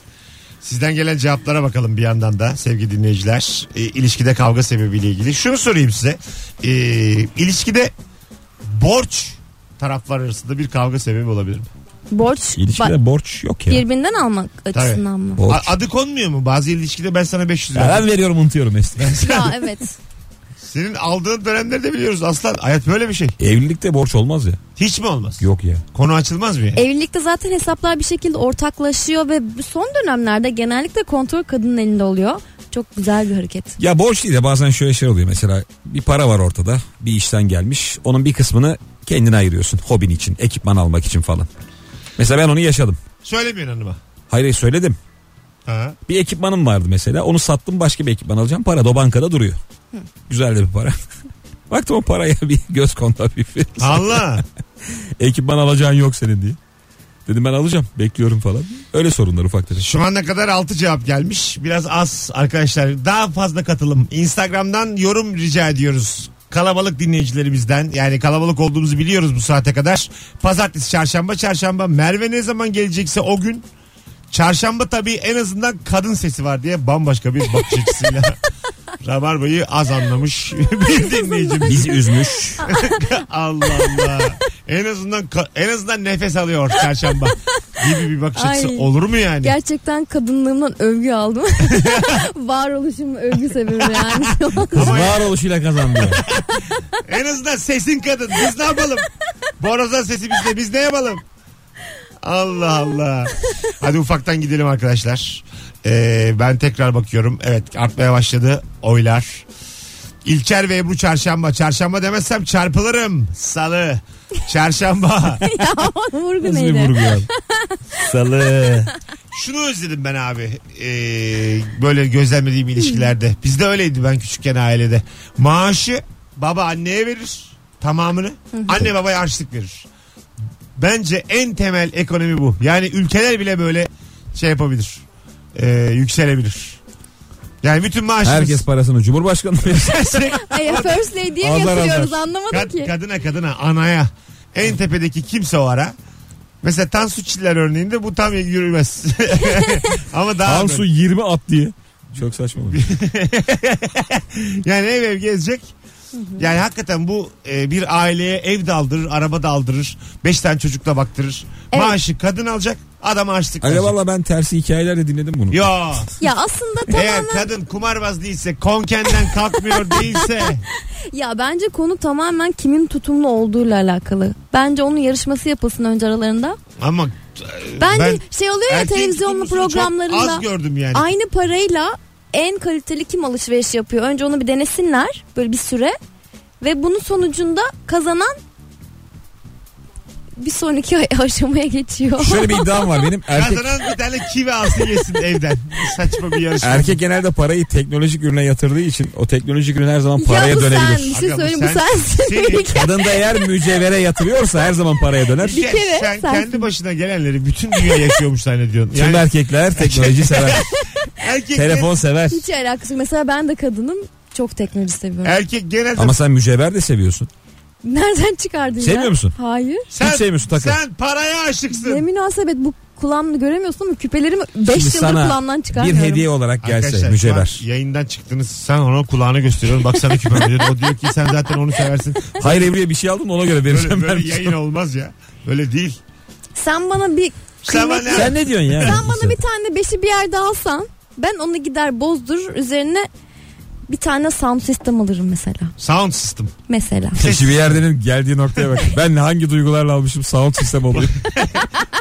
S2: Sizden gelen cevaplara bakalım bir yandan da sevgili dinleyiciler. E, ilişkide kavga sebebiyle ilgili. Şunu sorayım size. E, ilişkide borç taraflar arasında bir kavga sebebi olabilir mi?
S4: Borç
S5: İlişkide
S4: ba-
S5: borç yok ya.
S4: birbirinden almak açısından mı?
S5: Borç.
S2: A- adı konmuyor mu? Bazı ilişkide ben sana 500
S5: Ya
S2: lira.
S5: ben veriyorum unutuyorum Mesut.
S4: Ya evet.
S2: Senin aldığın dönemleri de biliyoruz aslan. Hayat böyle bir şey.
S5: Evlilikte borç olmaz ya.
S2: Hiç mi olmaz?
S5: Yok ya.
S2: Konu açılmaz mı ya?
S4: Evlilikte zaten hesaplar bir şekilde ortaklaşıyor ve son dönemlerde genellikle kontrol kadının elinde oluyor. Çok güzel bir hareket.
S5: Ya borç değil de bazen şöyle şey oluyor mesela bir para var ortada bir işten gelmiş onun bir kısmını kendine ayırıyorsun hobin için ekipman almak için falan. Mesela ben onu yaşadım.
S2: Söylemiyorsun hanıma.
S5: Hayır hayır, söyledim.
S2: Ha.
S5: Bir ekipmanım vardı mesela onu sattım başka bir ekipman alacağım para da o bankada duruyor. Güzel de bir para. Baktım o paraya bir göz kondu hafif.
S2: Allah.
S5: Ekipman alacağın yok senin diye. Dedim ben alacağım bekliyorum falan. Öyle sorunlar ufak tefek.
S2: Şu ana kadar 6 cevap gelmiş. Biraz az arkadaşlar. Daha fazla katılım. Instagram'dan yorum rica ediyoruz. Kalabalık dinleyicilerimizden yani kalabalık olduğumuzu biliyoruz bu saate kadar. Pazartesi, çarşamba, çarşamba Merve ne zaman gelecekse o gün çarşamba tabii en azından kadın sesi var diye bambaşka bir bakış açısıyla Rabarba'yı az anlamış bir dinleyicimiz.
S5: Bizi üzmüş.
S2: Allah Allah. En azından ka- en azından nefes alıyor çarşamba gibi bir bakış açısı
S4: Ay.
S2: olur mu yani?
S4: Gerçekten kadınlığımdan övgü aldım. Varoluşum övgü sebebi yani.
S5: Kız varoluşuyla kazandı.
S2: En azından sesin kadın. Biz ne yapalım? Borazan sesi bizde. Biz ne yapalım? Allah Allah. Hadi ufaktan gidelim arkadaşlar. Ee, ben tekrar bakıyorum. Evet artmaya başladı oylar. İlker ve Ebru çarşamba. Çarşamba demezsem çarpılırım. Salı. Çarşamba.
S4: ya vurgu
S5: Nasıl bir
S4: neydi?
S5: vurgu ya? Salı.
S2: Şunu özledim ben abi. Ee, böyle gözlemlediğim ilişkilerde. Bizde öyleydi ben küçükken ailede. Maaşı baba anneye verir tamamını. Anne babaya harçlık verir. Bence en temel ekonomi bu. Yani ülkeler bile böyle şey yapabilir. Ee, yükselebilir. Yani bütün maaşımız
S5: Herkes parasını Cumhurbaşkanı verirse
S4: Ay, first lady'ye mi
S5: Azar
S4: yatırıyoruz
S5: azar.
S4: anlamadım
S2: Kad-
S4: ki.
S2: kadına kadına anaya en tepedeki kimse o ara. Mesela Tansu Çiller örneğinde bu tam yürümez. Ama daha böyle.
S5: Tansu 20 at diye. Çok saçma olmuş.
S2: Yani ev ev gezecek. Yani hakikaten bu e, bir aileye ev de aldırır, araba da aldırır. Beş tane çocuk da baktırır.
S4: Evet.
S2: Maaşı kadın alacak, adam harçlık
S5: Aga
S2: alacak.
S5: valla ben tersi hikayeler de dinledim bunu.
S2: Yo.
S4: Ya aslında
S2: Eğer
S4: tamamen
S2: kadın kumarbaz değilse, konkenden kalkmıyor değilse.
S4: ya bence konu tamamen kimin tutumlu olduğuyla alakalı. Bence onun yarışması yapılsın önce aralarında.
S2: Ama e,
S4: Bence
S2: Ben
S4: şey oluyor ya
S2: erkeğin
S4: televizyonlu
S2: tutumlusunu çok
S4: programlarında
S2: az gördüm yani.
S4: aynı parayla en kaliteli kim alışveriş yapıyor? Önce onu bir denesinler böyle bir süre ve bunun sonucunda kazanan bir sonraki aşamaya geçiyor.
S5: Şöyle bir iddiam var benim. Erkek,
S2: Kazanan bir tane kivi alsın yesin evden. Saçma bir yarışma.
S5: erkek genelde parayı teknolojik ürüne yatırdığı için o teknolojik ürün her zaman paraya
S4: ya bu sen
S5: dönebilir.
S4: bir şey
S2: Aga bu
S4: söyleyeyim bu
S2: sen- şey-
S4: sensin.
S2: Senin-
S5: Kadın da eğer mücevhere yatırıyorsa her zaman paraya döner.
S2: Sen-
S4: kere
S2: sen
S4: sensin.
S2: kendi başına gelenleri bütün dünya yaşıyormuş zannediyorsun.
S5: Tüm
S2: Yani
S5: erkekler teknoloji sever.
S2: erkek,
S5: Telefon sever.
S4: Hiç alakası yok. Mesela ben de kadının çok teknoloji seviyorum.
S2: erkek genelde
S5: Ama sen mücevher de seviyorsun.
S4: Nereden çıkardın ya?
S5: Sevmiyor musun?
S4: Hayır.
S2: sen,
S5: hiç sevmiyorsun takı.
S2: sen paraya aşıksın.
S4: Ne münasebet bu kulağımda göremiyorsun ama küpelerimi 5
S5: Şimdi
S4: yıldır
S5: sana
S4: kulağımdan
S5: Bir
S4: çıkarmıyorum.
S5: hediye olarak gelse
S2: şu an
S5: mücevher.
S2: yayından çıktınız sen ona kulağını gösteriyorsun. Baksana küpem dedi. O diyor ki sen zaten onu seversin.
S5: Hayır Evli'ye bir şey aldın ona göre vereceğim
S2: Böyle,
S5: ben. şey.
S2: böyle yayın olmaz ya. Böyle değil.
S4: Sen bana bir
S2: Sen bana-
S4: kıymetli-
S5: Sen ne diyorsun ya?
S4: Sen bana bir tane beşi bir yerde alsan ben onu gider bozdur üzerine bir tane sound system alırım mesela.
S2: Sound system.
S4: Mesela.
S5: Şimdi bir yerdenin geldiği noktaya bak. Ben hangi duygularla almışım sound sistem oluyor.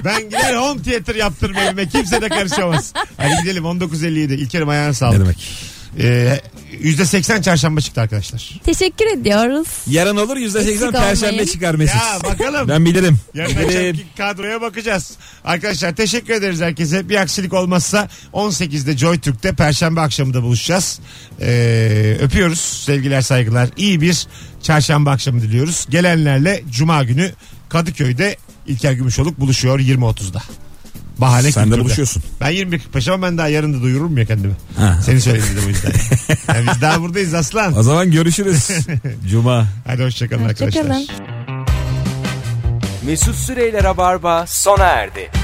S2: Ben gider home theater yaptırım evime. Kimse de karışamaz. Hadi gidelim 19.57. İlker'im ayağına
S5: ne
S2: sağlık.
S5: demek?
S2: Ee, %80 çarşamba çıktı arkadaşlar.
S4: Teşekkür ediyoruz.
S5: Yarın olur
S4: Eksik
S5: %80
S4: olmayın.
S5: perşembe çıkar
S2: Ya
S5: Mesut.
S2: bakalım.
S5: Ben bilirim.
S2: Yarın
S5: bilirim.
S2: akşamki kadroya bakacağız. Arkadaşlar teşekkür ederiz herkese. Bir aksilik olmazsa 18'de Joy Türk'te Perşembe akşamı da buluşacağız. Ee, öpüyoruz. Sevgiler saygılar. İyi bir çarşamba akşamı diliyoruz. Gelenlerle Cuma günü Kadıköy'de İlker Gümüşoluk buluşuyor 20.30'da. Bahane
S5: Sen de
S2: kültürde.
S5: buluşuyorsun.
S2: Ben 21.45 ama ben daha yarın da duyururum ya kendimi.
S5: Ha.
S2: Seni söyledim de bu yüzden. Yani biz daha buradayız aslan.
S5: O zaman görüşürüz. Cuma.
S2: Hadi hoşçakalın
S4: Hoşçakalın.
S2: arkadaşlar.
S1: Mesut Süreyler'e barba sona erdi.